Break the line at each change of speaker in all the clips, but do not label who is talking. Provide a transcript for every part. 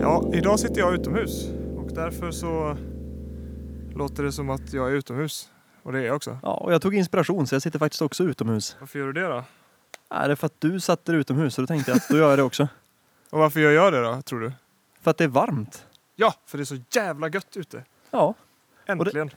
Ja, idag sitter jag utomhus och därför så låter det som att jag är utomhus. Och det är jag också.
Ja, och jag tog inspiration så jag sitter faktiskt också utomhus.
Varför gör du det då?
Nej, det är för att du satte dig utomhus så då tänkte jag att då gör jag det också.
Och varför gör jag det då, tror du?
För att det är varmt.
Ja, för det är så jävla gött ute.
Ja,
Äntligen.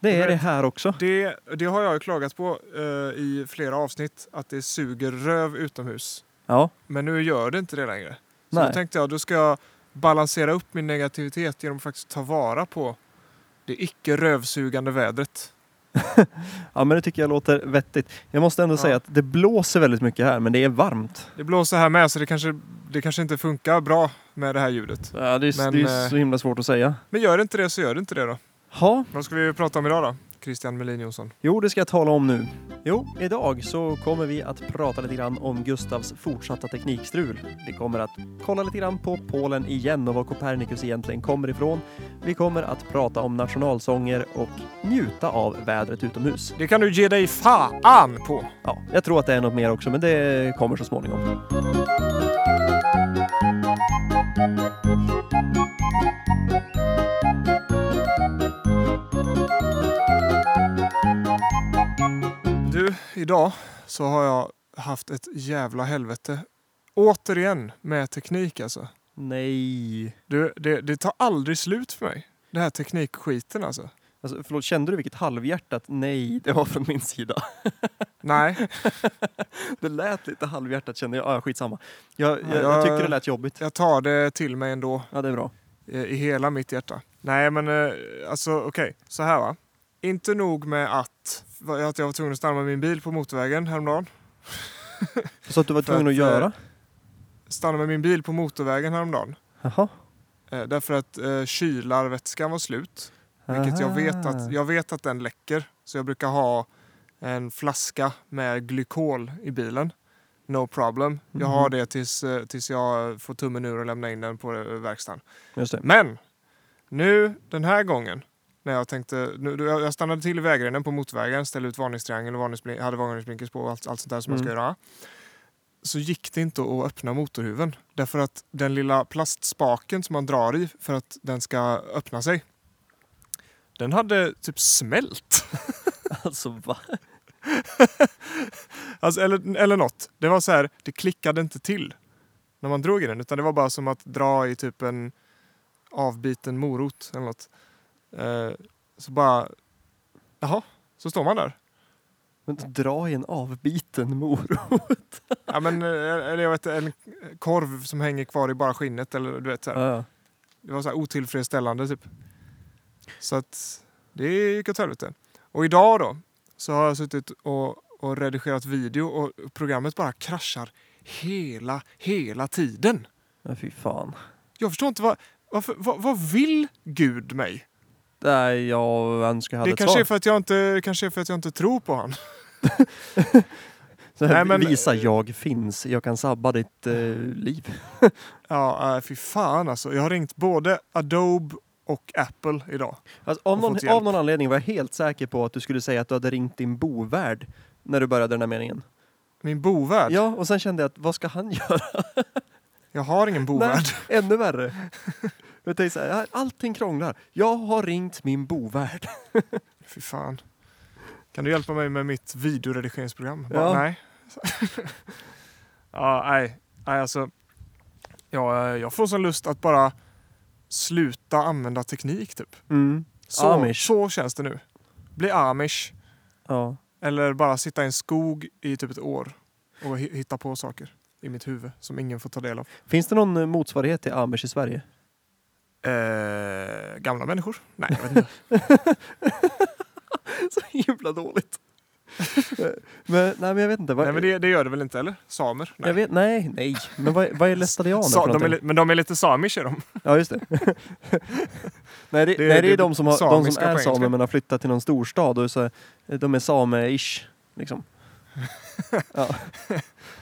det
Jag
är det
vet.
här också.
Det, det har jag ju klagat på eh, i flera avsnitt, att det suger röv utomhus.
Ja,
Men nu gör det inte det längre. Så
Nej.
då tänkte jag, då ska jag balansera upp min negativitet genom att faktiskt ta vara på det icke rövsugande vädret.
ja men det tycker jag låter vettigt. Jag måste ändå
Ja.
säga att det blåser väldigt mycket här, men det är varmt.
Det blåser här med så det kanske, det kanske inte funkar bra med det här ljudet.
Ja, det är,
Men,
det
eh,
är så himla svårt att säga.
Men gör det inte det så gör det inte det då.
Ja,
Vad ska vi prata om idag då? Christian Melin Jonsson.
Jo, det ska jag tala om nu. Jo, idag så kommer vi att prata lite grann om Gustavs fortsatta teknikstrul. Vi kommer att kolla lite grann på Polen igen och var Copernicus egentligen kommer ifrån. Vi kommer att prata om nationalsånger och njuta av vädret utomhus.
Det kan du ge dig fan på!
Ja, jag tror att det är något mer också, men det kommer så småningom.
Du, idag så har jag haft ett jävla helvete. Återigen med teknik alltså.
Nej.
Du, det, det tar aldrig slut för mig. Det här teknikskiten alltså.
Alltså, förlåt, kände du vilket halvhjärtat nej det var från min sida?
Nej,
Det lät lite halvhjärtat kände jag. Ja, skitsamma. Jag, jag,
Ja,
jag...
jag-
jag tyckte det lät jobbigt.
jag tar det till mig ändå
Ja, det är bra.
eh, i hela mitt hjärta. Nej, men eh, alltså okej, så här va. Inte nog med att, att jag var tvungen att stanna med min bil på motorvägen häromdagen.
Så att du var
För
tvungen att
att, eh,
göra?
Stanna med min bil på motorvägen häromdagen.
Jaha.
Eh, därför att eh, kylarvätskan var slut. Vilket jag vet, att, jag vet att den läcker. Så jag brukar ha en flaska med glykol i bilen. No problem. Jag har
Mhm.
det tills, eh, tills jag får tummen ur och lämnar in den på eh, verkstaden.
Just det.
Men nu den här gången när jag tänkte, nu, då jag jag stannade till i vägrenen på motvägen, ställde ut varningstriangel och varningsblink, hade varningsblinkers på och allt, allt sånt där som man
Mm.
ska göra. Så gick det inte att öppna motorhuven därför att den lilla plastspaken som man drar i för att den ska öppna sig. Den hade typ smält.
Alltså va?
Alltså, eller, eller något. Det var så här, det klickade inte till när man drog i den. Utan det var bara som att dra i typ en avbiten morot eller något. Eh, så bara, jaha, så står man där.
Men dra i en avbiten morot.
Ja, men, eh, eller jag vet en korv som hänger kvar i bara skinnet eller du vet så här.
Ja.
Det var så här otillfredsställande typ. Så att det gick åt helvete. Och idag då så har jag suttit och, och redigerat video och programmet bara kraschar hela, hela tiden.
Men fy fan.
Jag förstår inte vad, varför, vad, vad vill Gud mig?
Nej, jag önskar jag hade
Det
ett
kanske
svar.
är, för att jag inte, det kanske är för att jag inte tror på han.
Så här,
Nej, men-
Visa jag finns. Jag kan sabba ditt eh, liv.
Ja, äh, fy fan alltså. Jag har ringt både Adobe och Apple idag.
Alltså, av,
Och fått
någon,
hjälp.
av någon anledning var jag helt säker på att du skulle säga att du hade ringt din bovärd när du började den här meningen.
Min bovärd?
Ja, och sen kände jag att vad ska han göra?
Jag har ingen bovärd.
Nej, ännu värre. Jag tänkte så här, allting krånglar. Jag har ringt min bovärd.
Fy fan. Kan du hjälpa mig med mitt videoredigeringsprogram? Bara,
Ja.
Nej. ja, nej. nej alltså, ja, äh, jag får sån lust att bara sluta använda teknik typ.
Mm.
Så,
Amish.
så känns det nu. Bli amish.
Ja.
Eller bara sitta i en skog i typ ett år och hi- hitta på saker i mitt huvud som ingen får ta del av.
Finns det någon eh, motsvarighet till amish i Sverige?
Eh, gamla människor? Nej, jag vet inte.
Så himla dåligt. men, nej, men jag vet inte. Vad,
nej, men det, det gör det väl inte, eller? Samer? Nej.
Jag vet, nej, nej. Men vad, vad är lästadianer
Sa,
för
de är,
någonting?
li- men de är lite samish är de.
Ja, just det. nej, det,
Det-
nej, det
det-
är de som, har, de
samiska
som
på
är
engelska.
samer men har flyttat till någon storstad och så, de är same-ish. Liksom. ja.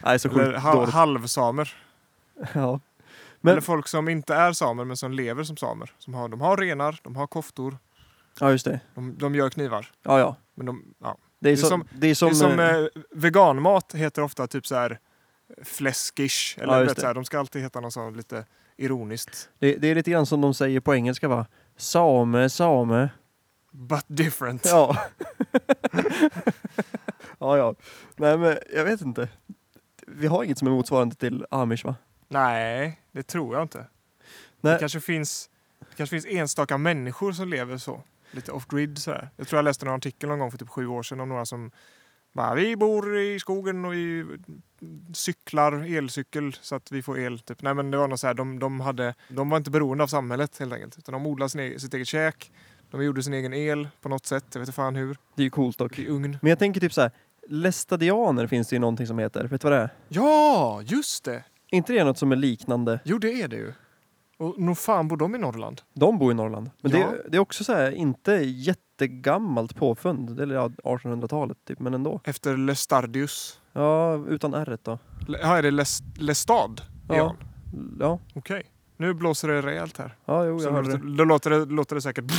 Nej, så
Eller
sjukt
ha,
dåligt.
halvsamer.
Ja. Men,
Eller folk som inte är samer men som lever som samer. Som har, de har renar, de har koftor,
ja, just det.
de, de gör knivar.
Ja, ja.
Men de, ja.
Det är,
Det är
så,
som-
det är som,
det är som
eh,
eh, veganmat heter ofta typ så här fläskish.
Ja,
Eller
just
vet,
det.
så här, de ska alltid heta något sånt lite ironiskt.
Det, det är lite grann som de säger på engelska va? Same, same.
But different.
Ja. ja, ja. Nej, men jag vet inte. Vi har inget som är motsvarande till amish va?
Nej, det tror jag inte.
Nej.
Det, kanske finns, det kanske finns enstaka människor som lever så. Lite off-grid sådär. Jag tror jag läste någon artikel någon gång för typ sju år sedan om några som bara, vi bor i skogen och vi cyklar elcykel så att vi får el. Typ. Nej men det var något så här, de, de, hade, de var inte beroende av samhället helt enkelt. Utan de odlade sin e- sitt eget käk. De gjorde sin egen el på något sätt, jag vet inte fan hur.
Det är ju coolt dock.
I ugn.
Men jag tänker typ så här. Lestadianer finns det ju någonting som heter. Vet du vad det är?
Ja, just det!
Är inte det något som är liknande?
Jo, det är det ju. Och nog fan bor de i Norrland?
De bor i Norrland. Men
Ja.
det, det är också så här, inte jättegammalt påfund. Eller ja, 1800-talet typ, men ändå.
Efter Lestardius.
Ja, utan r då.
Le- Ja, är det Les- Lestad?
Ja.
Ja.
Ja,
Okej. Nu blåser det rejält här.
ja jo,
Så
jag hörde
låter,
det.
då låter det, låter det säkert...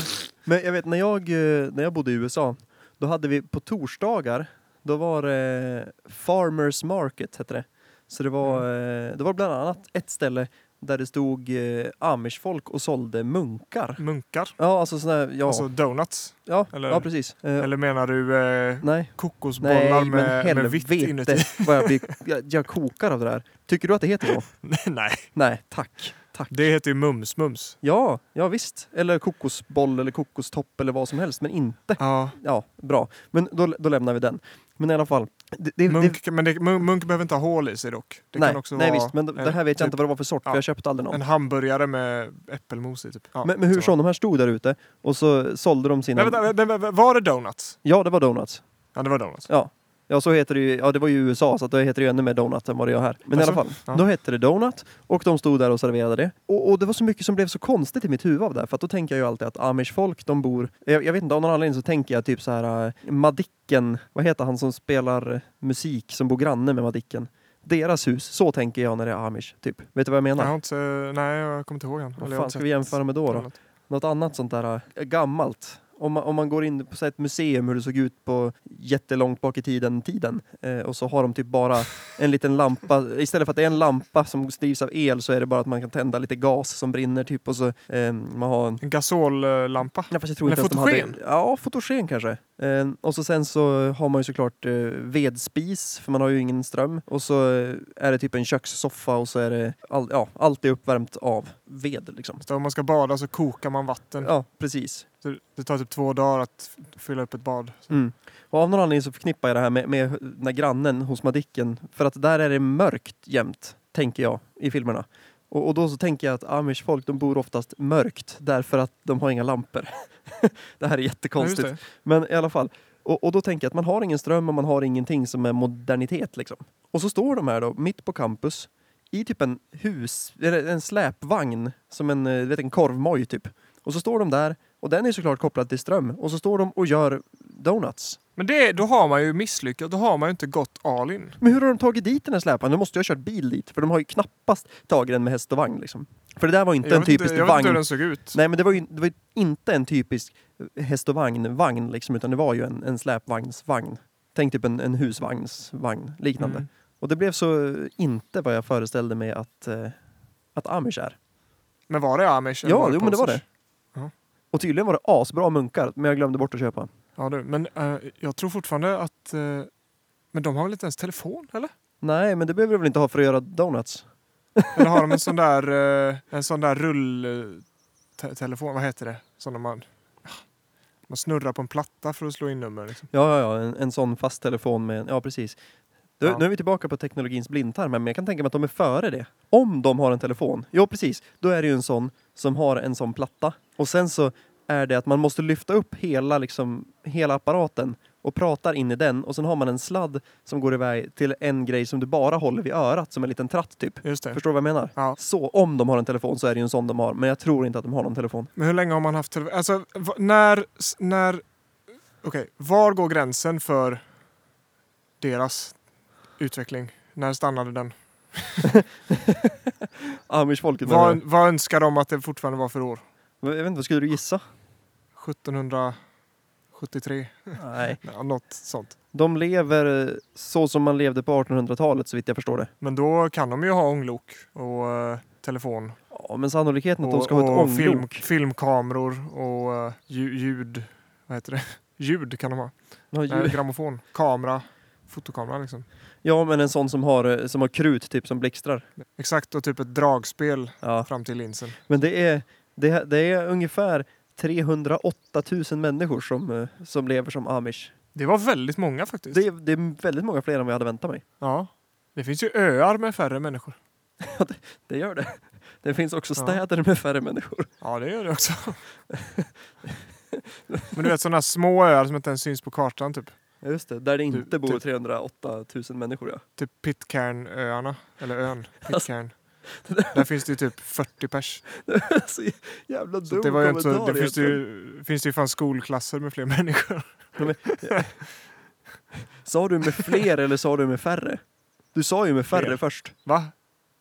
Men jag vet, när jag, eh, när jag bodde i USA, då hade vi på torsdagar, då var det Farmers Market, hette det. Så det var,
Mm.
eh, det var bland annat ett ställe där det stod eh, amishfolk och sålde munkar.
Munkar.
Ja, alltså sådana här, ja,
Alltså donuts.
ja,
eller-
ja precis. Eh,
Eller menar du eh,
nej.
kokosbollar
Nej, men
med, med vitt inuti?
helvete vad jag, blir, jag, jag kokar av det där. Tycker du att det heter så?
Nej, Nej,
Nej, tack. Tack.
det heter ju mums-mums.
Ja, ja visst. Eller kokosboll eller kokostopp eller vad som helst, men inte
Ja,
Ja, bra. Men då, då lämnar vi den. Men i alla fall. Det, det, det,
munk, men det, mun- munk behöver inte ha hål i sig dock. Det
nej,
kan också
nej
vara Eh,
visst, men d- det här vet jag inte vad det var för sort,
ja,
för jag köpte aldrig någon.
en hamburgare med äppelmos i. Typ. Ja,
men, men hur
så.
som, de här stod där ute och så sålde de sina...
Nej, vänta, vänta, vänta, var det donuts?
Ja, det var donuts.
Ja, det var donuts.
Ja. ja, så heter det ju. Ja, det var ju i USA, så att det heter det ju ännu mer donut än vad det gör här. Men i
Alltså,
alla fall,
ja.
då hette det donut och de stod där och serverade det. Och, och det var så mycket som blev så konstigt i mitt huvud av det här, för att då tänker jag ju alltid att amish-folk, de bor... Jag, jag vet inte, av någon anledning så tänker jag typ så här... eh, Madicken, vad heter han som spelar musik, som bor granne med Madicken? Deras hus, så tänker jag när det är amish, typ. Vet du vad jag menar?
Jag har inte, nej, jag kommer inte ihåg än.
Vad
Eller jag har
fan
inte
ska
sett
vi jämföra med då? då?
donut.
Något annat sånt där eh, gammalt. Om man, om man går in på så här, ett museum hur det såg ut på jättelångt bak i tiden, tiden eh, och så har de typ bara en liten lampa. Istället för att det är en lampa som drivs av el så är det bara att man kan tända lite gas som brinner typ och så eh, man har en
En gasollampa.
Nej, fast jag tror
Eller
inte ens de hade-
fotogen?
Ja, fotogen kanske. Eh, och så sen så har man ju såklart eh, vedspis, för man har ju ingen ström. Och så eh, är det typ en kökssoffa och så är det all, ja, allt är uppvärmt av ved liksom.
Så om man ska bada så kokar man vatten.
Ja, precis.
Så Det tar typ två dagar att f- fylla upp ett bad.
Mm. Och av någon anledning så förknippar jag det här med, med den här grannen hos Madicken. För att där är det mörkt jämt, tänker jag, i filmerna. Och, och då så tänker jag att amish folk, de bor oftast mörkt därför att de har inga lampor. det här är jättekonstigt.
Ja, just det.
Men i alla fall. Och, och då tänker jag att man har ingen ström och man har ingenting som är modernitet liksom. Och så står de här då, mitt på campus, i typ en hus, eller en släpvagn, som en, eh, vet, en korvmoj typ. Och så står de där, och den är såklart kopplad till ström. Och så står de och gör donuts.
Men det, då har man ju misslyckats. Då har man ju inte gått all in.
Men hur har de tagit dit den här släpvagnen? De måste ju ha kört bil dit, för de har ju knappast tagit den med häst och vagn liksom. För det där var ju inte
jag
en
vet inte,
typisk
jag vet
vagn.
inte hur den såg ut.
Nej, men det var ju, det var ju inte en typisk eh, häst och vagn-vagn, liksom, utan det var ju en, en släpvagnsvagn. Tänk typ en, en husvagnsvagn, liknande.
Mm.
Och det blev så eh, inte vad jag föreställde mig att, eh, att amish är.
Men var det amish? eller
Ja,
var
jo, men det var
posers?
det.
Ja.
Och tydligen var det asbra munkar, men jag glömde bort att köpa.
Ja, du. Men eh, jag tror fortfarande att... eh, men de har väl inte ens telefon, eller?
Nej, men det behöver du väl inte ha för att göra donuts?
Eller har de en sån där, eh, en sån där rulltelefon? Vad heter det? Sån där man, man snurrar på en platta för att slå in nummer. Liksom.
Ja, ja, ja en, en sån fast telefon med en, ja precis. Du,
Ja.
Nu är vi tillbaka på teknologins blindtarm, här, men jag kan tänka mig att de är före det. Om de har en telefon, jo precis, då är det ju en sån som har en sån platta. Och sen så är det att man måste lyfta upp hela, liksom, hela apparaten och pratar in i den och sen har man en sladd som går iväg till en grej som du bara håller vid örat som en liten tratt typ.
Just det.
Förstår du vad jag menar?
Ja.
Så om de har en telefon så är det ju en sån de har, men jag tror inte att de har någon telefon.
Men hur länge har man haft telefon? Alltså, va- när... s- när Okej, var går gränsen för deras utveckling? När stannade den?
Amish-folket menar
Vad,
du?
vad önskar de att det fortfarande var för år?
Jag vet inte, vad skulle du gissa?
1770 73,
Nej.
ja, något sånt.
De lever eh, så som man levde på 1800-talet så vitt jag förstår det.
Men då kan de ju ha ånglok och eh, telefon
Ja, men sannolikheten att de
och,
ska ha ett
och film,
ånglok.
filmkameror och eh, lju- ljud. Vad heter det? Ljud kan de ha.
Ja,
Nej,
ju-
grammofon. Kamera. Fotokamera liksom.
ja, men en sån som har, eh, som har krut typ som blixtrar.
Exakt och typ ett dragspel
Ja.
fram till linsen.
Men det är, det, här- det är ungefär 308 000 människor som, eh, som lever som amish.
Det var väldigt många faktiskt.
Det är, det är väldigt många fler än vad jag hade väntat mig.
Ja. Det finns ju öar med färre människor.
Det gör det. Det finns också
Ja.
städer med färre människor.
Ja, det gör det också. Men du vet sådana små öar som inte ens syns på kartan typ.
Ja, just det. Där det inte
Du-
bor
du-
308 000 människor ja.
Typ Pitcairn-öarna. Eller ön.
Alltså,
Pitcairn. Där finns det ju typ 40 pers.
så jävla
Så
dum
det var ju inte så,
kommentar
det finns det,
egentligen.
ju, finns det ju fan skolklasser med fler människor.
Sa du med fler eller sa du med färre? Du sa ju med färre
Fler.
först.
Va?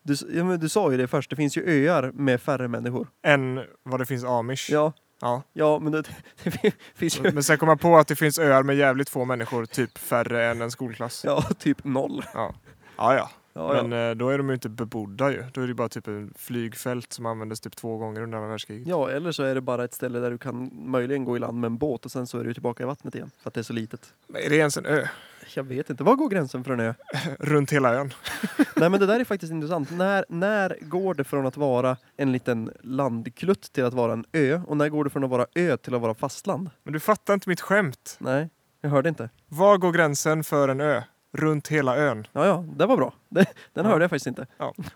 Du, s- ja, men du sa ju det först. Det finns ju öar med färre människor.
Än vad det finns amish.
Ja,
Ja.
ja men det, det finns ju...
Men sen kom jag på att det finns öar med jävligt få människor, typ färre än en skolklass. Ja,
Ja, typ noll.
ja. ja.
Ja, ja.
Men eh, då är de ju inte bebodda ju. Då är det ju bara typ en flygfält som användes typ två gånger under andra världskriget.
Ja, eller så är det bara ett ställe där du kan möjligen gå i land med en båt och sen så är du tillbaka i vattnet igen för att det är så litet.
Men är det ens en ö?
Jag vet inte, var går gränsen för en ö?
Runt hela ön.
Nej men det där är faktiskt intressant. När, när går det från att vara en liten landklutt till att vara en ö? Och när går det från att vara ö till att vara fastland?
Men du fattar inte mitt skämt.
Nej, jag hörde inte.
Var går gränsen för en ö? Runt hela ön.
Ja, ja, det var bra. Den
Ja.
hörde jag faktiskt inte.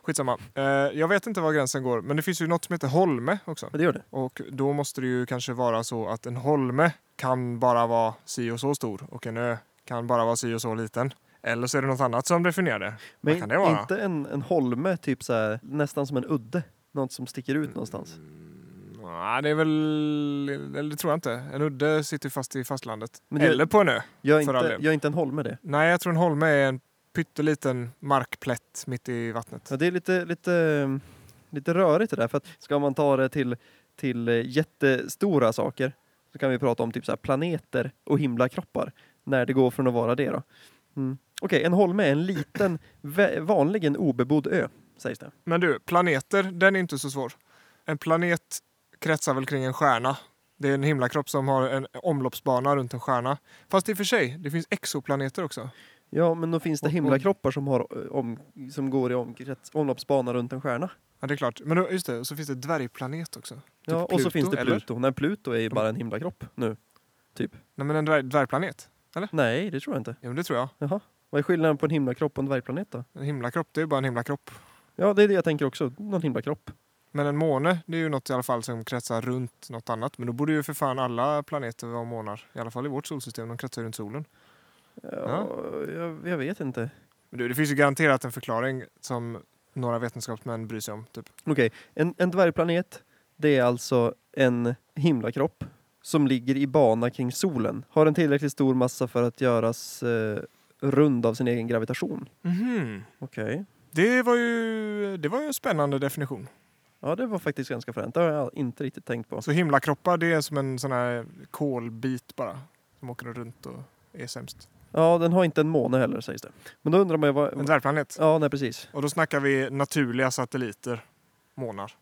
Skitsamma. Eh, jag vet inte var gränsen går, men det finns ju något som heter holme också.
Men det gör det.
Och då måste det ju kanske vara så att en holme kan bara vara si och så stor och en ö kan bara vara si och så liten. Eller så är det något annat som definierar det.
Men
Vad kan det vara?
inte en, en holme, typ så här, nästan som en udde. Något som sticker
Mm,
ut någonstans.
Nej, det är väl... Eller det tror jag inte. En udde sitter fast i fastlandet.
Men det-
Eller på en ö.
Gör
För all
inte,
del.
gör inte en holme det?
Nej, jag tror en holme är en pytteliten markplätt mitt i vattnet.
Ja, det är lite, lite, lite rörigt det där. För att ska man ta det till, till eh, jättestora saker så kan vi prata om typ så här planeter och himlakroppar. När det går från att vara det då. Mm. Okej, en holme är en liten, vä- vanligen obebodd ö, sägs det.
Men du, planeter, den är inte så svår. En planet kretsar väl kring en stjärna. Det är en himlakropp som har en omloppsbana runt en stjärna. Fast i och för sig, det finns exoplaneter också.
Ja, men då finns det
Och- och-
himlakroppar som, har, eh, om, som går i omkrets, omloppsbana runt en stjärna.
Ja, det är klart. Men då, just det, och så finns det dvärgplanet också. Typ
Ja, och så
Pluto,
finns det
eller?
Pluto. Nej, Pluto är ju bara en himlakropp nu. Typ.
Nej, men en dvärg, dvärgplanet?
Nej, det tror jag inte.
Jo, men det tror jag.
Jaha. Vad är skillnaden på en himlakropp och en dvärgplanet då?
En himlakropp, det är bara en himlakropp.
Ja, det är det jag tänker också. Någon himlakropp.
Men en måne, det är ju något i alla fall som kretsar runt något annat. Men då borde ju för fan alla planeter vara månar. I alla fall i vårt solsystem, de kretsar ju runt solen.
Ja, jag, jag vet inte.
Men du, det finns ju garanterat en förklaring som några vetenskapsmän bryr sig om. Typ.
Okej, en, en dvärgplanet, det är alltså en himlakropp som ligger i bana kring solen. Har en tillräckligt stor massa för att göras eh, rund av sin egen gravitation. Okej.
Det var ju det var ju en spännande definition.
Ja, det var faktiskt ganska fränt. Det har jag inte riktigt tänkt på.
Så Alltså, himlakroppar, det är som en sån här kolbit bara. Som åker runt och är sämst.
Ja, den har inte en måne heller sägs det. Men då undrar man ju
En
vad...
dvärgplanet.
Ja, nej precis.
Och då snackar vi naturliga satelliter, månar.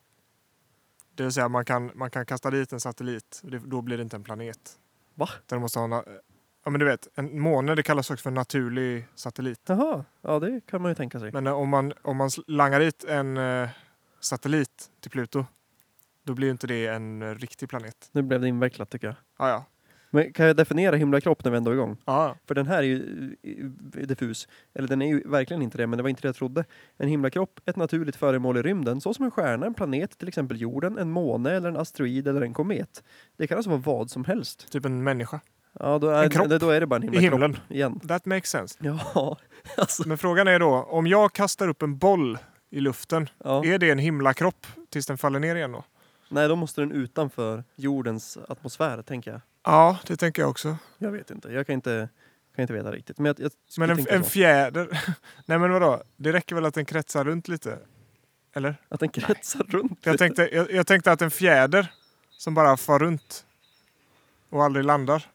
Det vill säga man kan, man kan kasta dit en satellit, det, då blir det inte en planet.
Va?
Den måste ha na- ja men du vet, en måne det kallas också för naturlig satellit.
Jaha, ja det kan man ju tänka sig.
Men eh, om man, om man sl- langar dit en eh, satellit till Pluto, då blir ju inte det en eh, riktig planet.
Nu blev det invecklat tycker jag.
Ah, ja,
Men kan jag definiera himlakropp när vi ändå är igång?
ah, ja.
För den här är ju eh, diffus. Eller den är ju verkligen inte det, men det var inte det jag trodde. En himlakropp, ett naturligt föremål i rymden, såsom en stjärna, en planet, till exempel jorden, en måne eller en asteroid eller en komet. Det kan alltså vara vad som helst.
Typ en människa.
Ja, då
En
är,
kropp
det, då är det bara en
I
himlakropp
himlen.
igen.
That makes sense.
Ja, alltså.
Men frågan är då, om jag kastar upp en boll i luften,
Ja.
är det en himlakropp tills den faller ner igen då?
Nej, då måste den utanför jordens atmosfär, tänker jag.
Ja, det tänker jag också.
Jag vet inte, jag kan inte, kan inte veta riktigt. Men jag, jag skulle
Men en,
tänka
en
så.
fjäder? Nej men vadå? Det räcker väl att den kretsar runt lite? Eller?
Att den kretsar runt.
Jag tänkte, jag, jag tänkte att en fjäder som bara far runt och aldrig landar.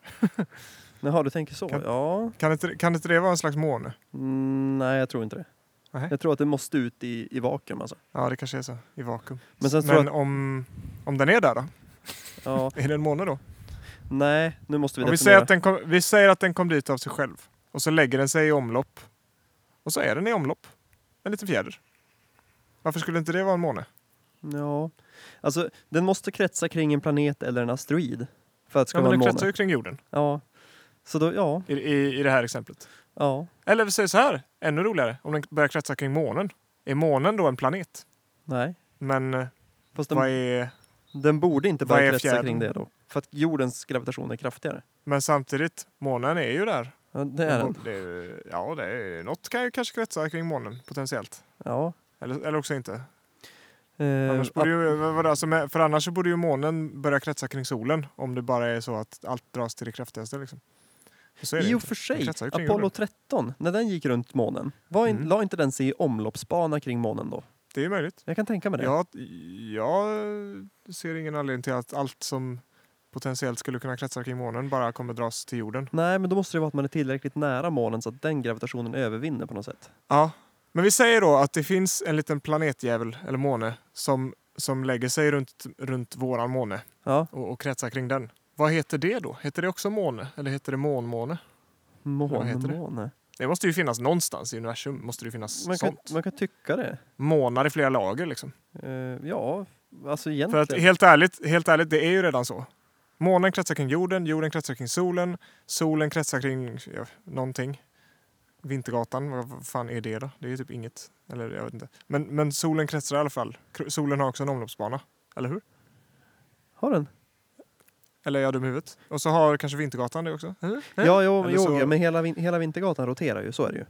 Jaha, du tänker så.
Kan-
Ja.
Kan inte, kan inte det vara en slags måne?
Mm, nej, jag tror inte det.
Nej.
Jag tror att det måste ut i, i vakuum alltså.
Ja, det kanske är så. I vakuum.
Men sen tror
Men
jag
om, om den är där då?
att, ja,
Är det en måne då?
nej, nu måste vi
Om vi, säger
definiera.
att den kom, vi säger att den kom dit av sig själv. Och så lägger den sig i omlopp. Och så är den i omlopp. En liten fjäder. Varför skulle inte det vara en måne?
Ja, alltså den måste kretsa kring en planet eller en asteroid. För att det ska
Ja, men den
vara en
kretsar
måne.
ju kring jorden
Ja. Så då, ja,
i, i, i det här exemplet.
ja,
Eller vi säger så här, ännu roligare. Om den börjar kretsa kring månen. Är månen då en planet?
nej.
Men eh,
Fast den,
vad är...
den borde inte
vad är
börja kretsa
fjärden?
kring det då. För att jordens gravitation är kraftigare.
Men samtidigt, månen är ju där.
Ja, det är den.
Det är- ja, det är, något kan ju kanske kretsa kring månen potentiellt.
Ja.
Eller, eller också inte.
Eh,
Annars borde ju, vad- vad- alltså med, för annars så borde ju månen börja kretsa kring solen om det bara är så att allt dras till det kraftigaste. Liksom. Så är det
I och
inte.
för sig,
kretsar ju kring
Apollo
jorden.
13, när den gick runt månen, var in,
Mm.
la inte den sig i omloppsbana kring månen då?
Det är ju möjligt.
Jag kan tänka mig det.
Jag, jag ser ingen anledning till att allt som potentiellt skulle kunna kretsa kring månen bara kommer dras till jorden.
Nej, men då måste det vara att man är tillräckligt nära månen så att den gravitationen övervinner på något sätt.
Ja. Men vi säger då att det finns en liten planetjävel, eller måne, som, som lägger sig runt, runt våran måne
Ja,
och, och kretsar kring den. Vad heter det då? Heter det också måne? Eller heter det månmåne? Vad heter det?
månmåne.
Det måste ju finnas någonstans i universum. Måste det ju finnas
Man kan,
sånt.
man kan tycka det.
månar i flera lager. Liksom.
Eh, ja, alltså
För
egentligen.
att helt ärligt, helt ärligt, det är ju redan så. Månen kretsar kring jorden, jorden kretsar kring solen, solen kretsar kring ja, någonting. Vintergatan, vad vad fan är det då? Det är ju typ inget. Eller jag vet inte. Men, men solen kretsar i alla fall. Kr- Solen har också en omloppsbana. Eller hur?
Har den?
Eller är jag dum i huvudet? Och så har kanske Vintergatan det också. Mm.
Ja, jo,
Eller
jo
så-
ja, men hela, vin- hela Vintergatan roterar ju, så är det ju.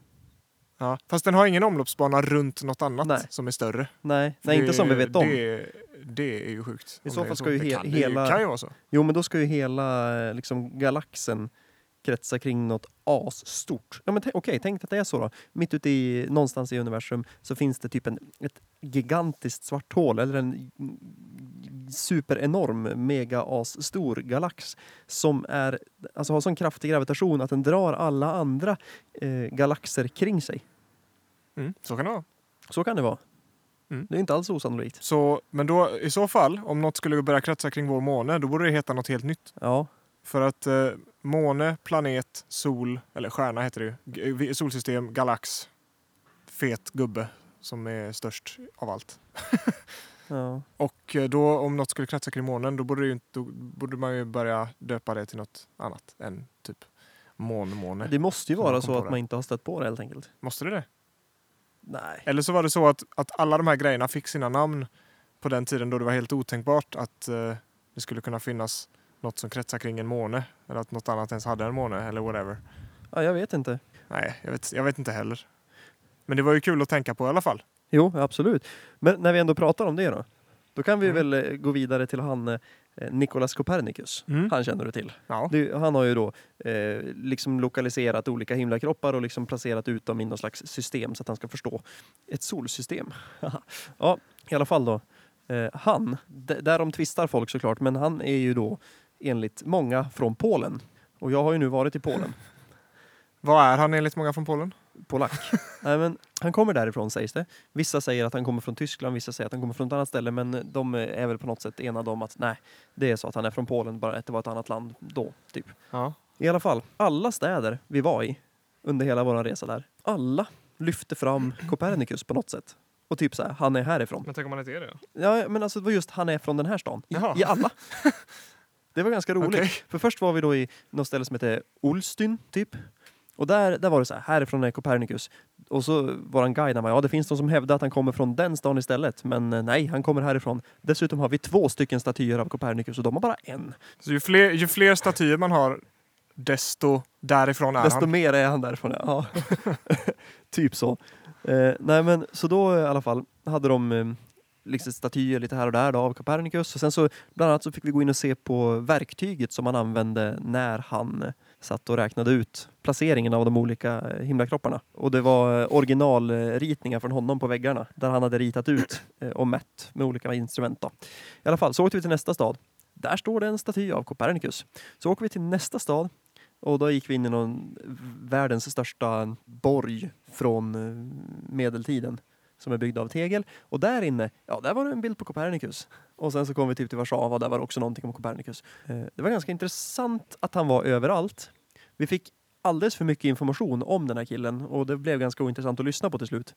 Ja. Fast den har ingen omloppsbana runt något annat
Nej.
som är större.
Nej, nej inte
Det-
som vi vet om.
Det, det är ju sjukt.
I
om
så
det är
fall ska ju
Det
he-
kan,
hela-
Det kan ju vara så.
Jo, men då ska ju hela eh, liksom, galaxen kretsa kring något asstort. Ja, men t- okej, tänk att det är så då. Mitt ute i, någonstans i universum så finns det typ en, ett gigantiskt svart hål eller en superenorm mega asstor galax som är, alltså har sån kraftig gravitation att den drar alla andra eh, galaxer kring sig.
Mm. Så kan det vara.
Så kan det vara.
Mm.
Det är inte alls osannolikt.
Så, men då, i så fall, om något skulle börja kretsa kring vår måne, då borde det heta något helt nytt.
Ja,
För att eh, måne, planet, sol, eller stjärna heter det ju, G- eh, vi- solsystem, galax, fet gubbe som är störst av allt.
ja.
Och eh, då om något skulle kretsa kring månen, då borde, det ju, inte- då borde man ju börja döpa det till något annat än typ månmåne.
Det måste ju
Som jag
vara
kom
så
på
att
det.
man inte har stött på det helt enkelt.
Måste det det?
Nej.
Eller så var det så att, att alla de här grejerna fick sina namn på den tiden då det var helt otänkbart att eh, det skulle kunna finnas något som kretsar kring en måne. Eller att något annat ens hade en måne eller whatever.
Ja, jag vet inte.
Nej, jag vet, jag vet inte heller. Men det var ju kul att tänka på i alla fall.
Jo, absolut. Men när vi ändå pratar om det då. Då kan vi
Mm.
väl eh, gå vidare till han eh, Nicolas Copernicus.
Mm.
Han känner du till.
Ja.
Det, han har ju då eh, liksom lokaliserat olika himlakroppar och liksom placerat ut dem i något slags system så att han ska förstå ett solsystem. ja, i alla fall då. Eh, han, d- därom tvistar folk såklart, men han är ju då enligt många från Polen. Och jag har ju nu varit i Polen.
Vad är han enligt många från Polen?
polack. Nej, men han kommer därifrån sägs det. Vissa säger att han kommer från Tyskland, vissa säger att han kommer från ett annat ställe. Men de är väl på något sätt enade om att nej, det är så att han är från Polen, bara att det var ett annat land då. Typ.
Ja.
I alla fall, alla städer vi var i under hela vår resa där, alla lyfte fram Copernicus på något sätt. Och typ så här, han är härifrån.
Men tänk om han inte är det?
Ja, men alltså det var just han är från den här stan. I,
Jaha.
i alla. Det var ganska roligt.
Okej.
För först var vi då i något ställe som heter Olstyn, typ. Och där, där var det så här, härifrån är Copernicus. Och så våran guide, han bara, ja det finns de som hävdar att han kommer från den stan istället. Men eh, nej, han kommer härifrån. Dessutom har vi två stycken statyer av Copernicus och de har bara en.
Så ju fler, ju fler statyer man har, desto därifrån är
Desto
han.
mer är han därifrån, ja. typ så. Eh, nej men, så då eh, i alla fall hade de eh, liksom statyer lite här och där då, av Copernicus. Och sen så, bland annat så fick vi gå in och se på verktyget som han använde när han eh, satt och räknade ut placeringen av de olika eh, himlakropparna. Och det var eh, originalritningar från honom på väggarna där han hade ritat ut eh, och mätt med olika instrument. Då. I alla fall så åkte vi till nästa stad Där står det en staty av Copernicus. Så åker vi till nästa stad och då gick vi in i någon världens största borg från eh, medeltiden som är byggd av tegel. Och där inne, ja där var det en bild på Copernicus. Och sen så kom vi typ till Warszawa, där var det också någonting om Copernicus. Eh, Det var ganska intressant att han var överallt. Vi fick alldeles för mycket information om den här killen och det blev ganska ointressant att lyssna på till slut.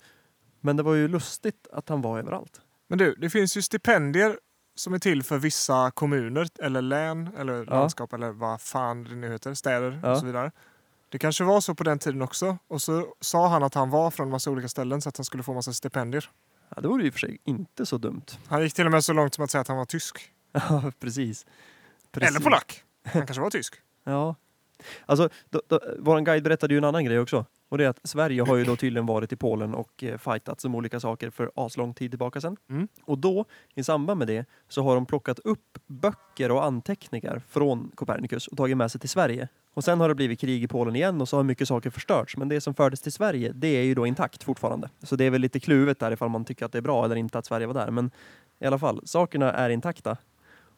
Men det var ju lustigt att han var överallt.
Men du, det finns ju stipendier som är till för vissa kommuner eller län eller
Ja.
landskap eller vad fan det nu heter, städer
Ja.
och så vidare. Det kanske var så på den tiden också. Och så sa han att han var från massa olika ställen så att han skulle få massa stipendier.
Ja, det vore ju i och för sig inte så dumt.
Han gick till och med så långt som att säga att han var tysk.
Ja, precis.
Eller polack. Han kanske var tysk.
Ja. Alltså, då, då, vår guide berättade ju en annan grej också. Och det är att Sverige har ju då tydligen varit i Polen och eh, fightats om olika saker för aslång tid tillbaka sedan.
Mm.
Och då, i samband med det, så har de plockat upp böcker och anteckningar från Copernicus och tagit med sig till Sverige. Och sen har det blivit krig i Polen igen och så har mycket saker förstörts. Men det som fördes till Sverige, det är ju då intakt fortfarande. Så det är väl lite kluvet där ifall man tycker att det är bra eller inte att Sverige var där. Men i alla fall, sakerna är intakta.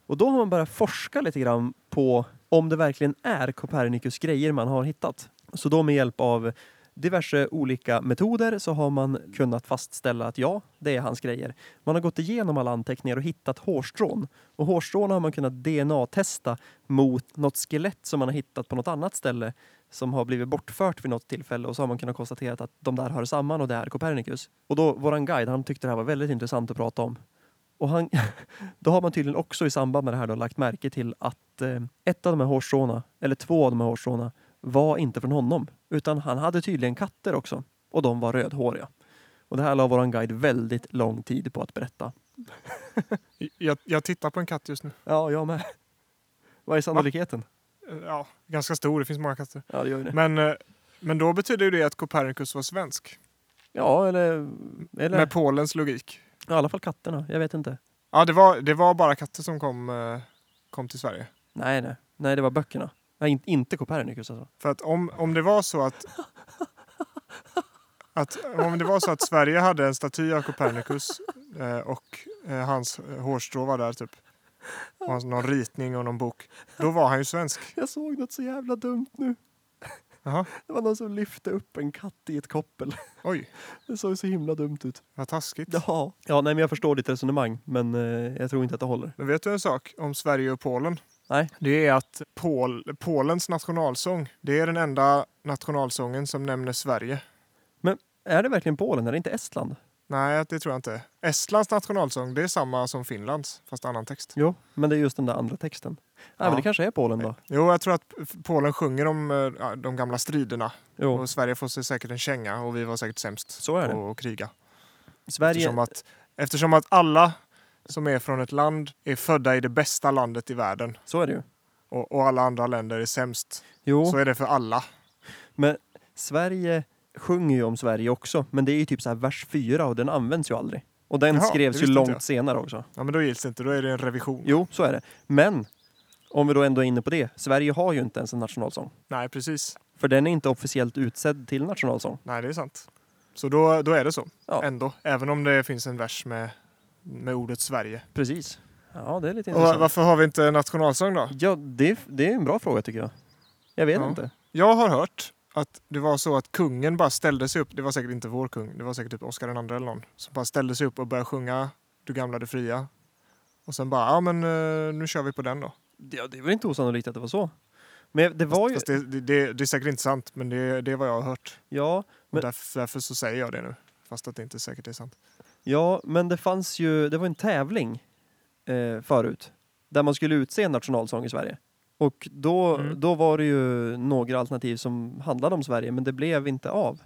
Och då har man börjat forska lite grann på om det verkligen är Copernicus grejer man har hittat. Så då med hjälp av diverse olika metoder så har man kunnat fastställa att ja, det är hans grejer. Man har gått igenom alla anteckningar och hittat hårstrån. Och hårstrån har man kunnat DNA-testa mot något skelett som man har hittat på något annat ställe som har blivit bortfört vid något tillfälle och så har man kunnat konstatera att de där hör samman och det är Copernicus. Och då, våran guide, han tyckte det här var väldigt intressant att prata om. Och han, då har man tydligen också i samband med det här då lagt märke till att eh, ett av de här hårstråna, eller två av de här hårstråna, var inte från honom. Utan han hade tydligen katter också. Och de var rödhåriga. Och det här la våran guide väldigt lång tid på att berätta.
Jag, jag tittar på en katt just nu.
Ja, jag med. Vad är sannolikheten?
Eh, Ja, ganska stor. Det finns många katter.
Ja, det gör ju det.
Men, eh, men då betyder ju det att Copernicus var svensk.
Ja, eller... eller
Med Polens logik.
I alla fall katterna, jag vet inte.
Ja, det var, det var bara katter som kom, eh, kom till Sverige.
Nej, nej. Nej, det var böckerna. Nej, in, inte Copernicus alltså.
För att om, om det var så att, att... Om det var så att Sverige hade en staty av Copernicus eh, och eh, hans eh, hårstrå var där typ. Och hans, någon ritning och någon bok. Då var han ju svensk.
Jag såg något så jävla dumt nu.
Jaha,
Det var någon som lyfte upp en katt i ett koppel.
oj,
Det såg så himla dumt ut.
vad taskigt.
Ja. ja, nej men jag förstår ditt resonemang, men eh, jag tror inte att det håller.
Men vet du en sak om Sverige och Polen?
Nej.
Det är att Pol, Polens nationalsång, det är den enda nationalsången som nämner Sverige.
Är det verkligen Polen? Är det inte Estland?
Nej, det tror jag inte. Estlands nationalsång, det är samma som Finlands, fast annan text.
Jo. Men det är just den där andra texten. Nej,
Ja.
men det kanske är Polen då.
Jo, jag tror att Polen sjunger om eh, ja, de gamla striderna.
Jo,
Och Sverige får sig säkert en känga och vi var säkert sämst
så är det.
på att kriga.
Sverige...
Eftersom att, eftersom att alla som är från ett land är födda i det bästa landet i världen
Så är det ju.
och, och alla andra länder är sämst.
Jo,
Så är det för alla.
men Sverige sjunger ju om Sverige också, men det är ju typ så här vers 4 och den används ju aldrig. Och den
Jaha, det
skrevs ju
visste inte
långt
jag.
senare också.
Ja, men då gills det inte. Då är det en revision.
Jo, så är det. Men, om vi då ändå är inne på det, Sverige har ju inte ens en nationalsång.
Nej, precis.
För den är inte officiellt utsedd till nationalsång.
Nej, det är sant. Så då, då är det så
Ja.
ändå. Även om det finns en vers med, med ordet Sverige.
Precis. Ja, det är lite
Och
intressant.
va- varför har vi inte en nationalsång då?
Ja, det, det är en bra fråga tycker jag. Jag vet
Ja.
inte.
Jag har hört att det var så att kungen bara ställde sig upp. Det var säkert inte vår kung. Det var säkert typ Oscar II eller någon. Som bara ställde sig upp och började sjunga Du gamla, du fria. Och sen bara, ja men eh, nu kör vi på den då.
Ja, det är väl inte osannolikt att det var så. Men det var
Fast,
ju...
fast det, det- det, det är säkert inte sant, men det, det är vad jag har hört.
Ja,
Och
Men-
därför, därför så säger jag det nu. Fast att det inte säkert är sant.
ja, men det fanns ju... Det var en tävling eh, förut. Där man skulle utse en nationalsång i Sverige. Och då,
Mm.
då var det ju några alternativ som handlade om Sverige, men det blev inte av.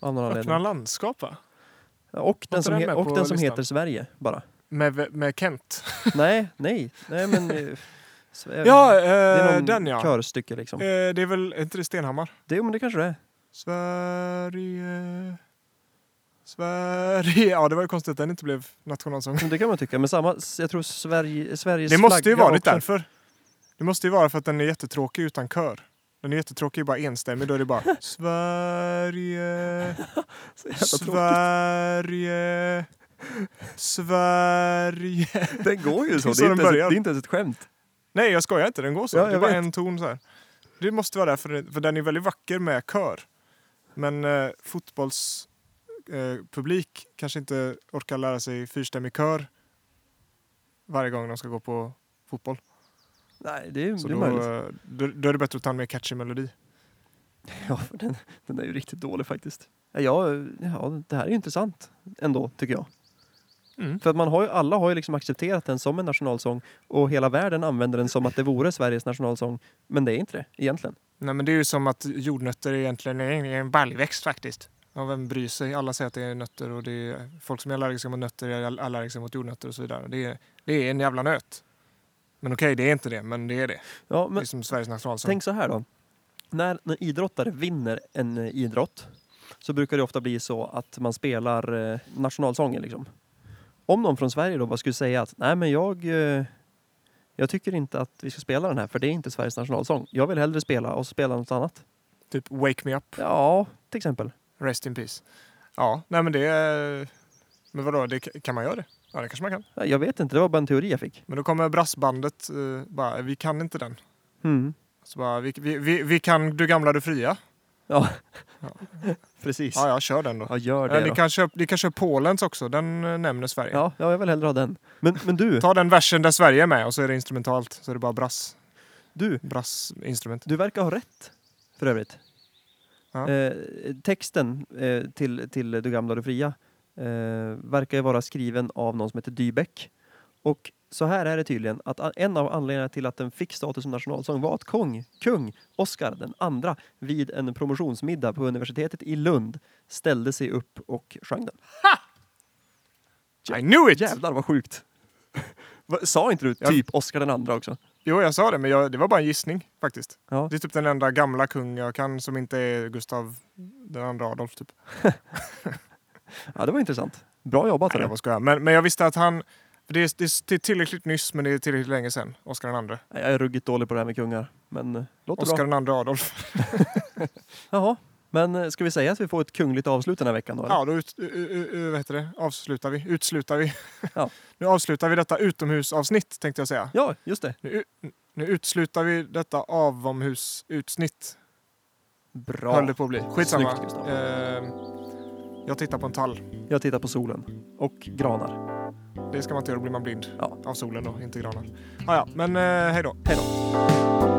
Av någon
Öppna
anledning.
landskap va?
Ja, Och den
inte
som,
den
he-
med
och
på
den som
listan?
heter Sverige, bara.
Med, med Kent.
nej, nej. Nej, men... eh, Sve-
Ja,
det är
eh,
någon
den ja.
körstycke liksom.
Eh, det är väl, är inte det Stenhammar?
Det, men det kanske det är.
Sverige... Sverige... Ja, det var ju konstigt att den inte blev nationalsång.
Men Det kan man tycka, men samma... Jag tror Sverige, Sveriges
Det måste ju
flagga
varit
också.
därför. Det måste ju vara för att den är jättetråkig utan kör. Den är jättetråkig, bara enstämmig. Då är det bara Sverige,
Så jävla tråkigt.
Sverige, Sverige.
Den går ju
Det
så.
är så
Det är,
den
inte ens,
börjar.
det är inte ens ett skämt.
Nej, jag skojar inte. Den går så.
Ja,
det är
jag
bara
vet.
en ton så här. Det måste vara därför, för den är väldigt vacker med kör. Men eh, fotbollspublik eh, publik kanske inte orkar lära sig fyrstämmig kör varje gång de ska gå på fotboll.
Nej, det är,
Så
det är
då,
möjligt.
eh, då, då är det bättre att ta en mer catchy melodi.
Ja, för den, den är ju riktigt dålig faktiskt. Ja, jag- ja, det här är ju intressant ändå, tycker jag.
Mm.
För att man har ju, alla har ju liksom accepterat den som en nationalsång och hela världen använder den som att det vore Sveriges nationalsång. Men det är inte det, egentligen.
Nej, men det är ju som att jordnötter egentligen är en- är en baljväxt faktiskt. Ja, vem bryr sig? Alla säger att det är nötter och det är folk som är allergiska mot nötter är all- allergiska mot jordnötter och så vidare. Det är, det är en jävla nöt. Men okej, det är inte det, men det är det.
Ja,
det
men
är som Sveriges nationalsång.
tänk så här då. När, när idrottare vinner en eh, idrott så brukar det ofta bli så att man spelar eh, nationalsången liksom. Om någon från Sverige då bara skulle säga att nej men jag, eh, jag tycker inte att vi ska spela den här för det är inte Sveriges nationalsång. Jag vill hellre spela och så spela något annat.
Typ Wake Me Up,
Ja, till exempel.
Rest In Peace. Ja, nej men det... är- Men vadå, det, kan man göra det? Ja, det kanske man kan.
Ja, Jag vet inte, det var bara en teori jag fick.
Men då kommer brassbandet eh, bara, vi kan inte den.
Mm.
Så bara, vi, vi, vi, vi kan Du gamla du fria.
Ja.
Ja.
precis.
Ja, jag kör den då.
Ja, gör
Ja,
det
ni,
då.
kan köra, ni kan köra Polens också, den eh, nämner Sverige.
Ja, ja, jag vill hellre ha den. Men, men du,
Ta den versen där Sverige är med och så är det instrumentalt. Så är det bara brass,
du,
brassinstrument.
du verkar ha rätt för övrigt.
Ja.
Eh, texten eh, till, till Du gamla och du fria eh, verkar ju vara skriven av någon som heter Dybeck. Och så här är det tydligen att a- en av anledningarna till att den fick status som nationalsång var att kung, kung Oscar den andra vid en promotionsmiddag på universitetet i Lund ställde sig upp och sjöng den.
I knew it!
Jävlar vad sjukt! Va- Sa inte du
Jag-
typ Oscar den andra också?
Jo, jag sa det, men jag, det var bara en gissning faktiskt.
Ja.
Det är typ den enda gamla kung jag kan som inte är Gustav den andra Adolf. Typ.
Ja, det var intressant. Bra jobbat.
Nej,
hörru.
jag bara skojar. Men, men jag visste att han... för Det är, det är- det är tillräckligt nyss, men det är tillräckligt länge sedan. Oscar den andra.
Nej, Jag är ruggigt dålig på det här med kungar, men eh, låter
Oscar
bra.
den andra Adolf.
Jaha, men eh, ska vi säga att vi får ett kungligt avslut den här veckan då? eller?
Ja, då ut, u, u, u, vad heter det? avslutar vi. Utslutar vi.
Ja.
Nu avslutar vi detta utomhusavsnitt tänkte jag säga.
ja just det.
Nu, u- nu utslutar vi detta avomhusutsnitt.
Bra.
Höll det på att bli. Skitsamma.
Snyggt, Gustav.
eh, jag tittar på en tall.
Jag tittar på solen och granar.
Det ska man inte göra, då blir man blind.
Ja.
Av solen då, inte granar. Ah, ja, men eh, hej då.
Hej då.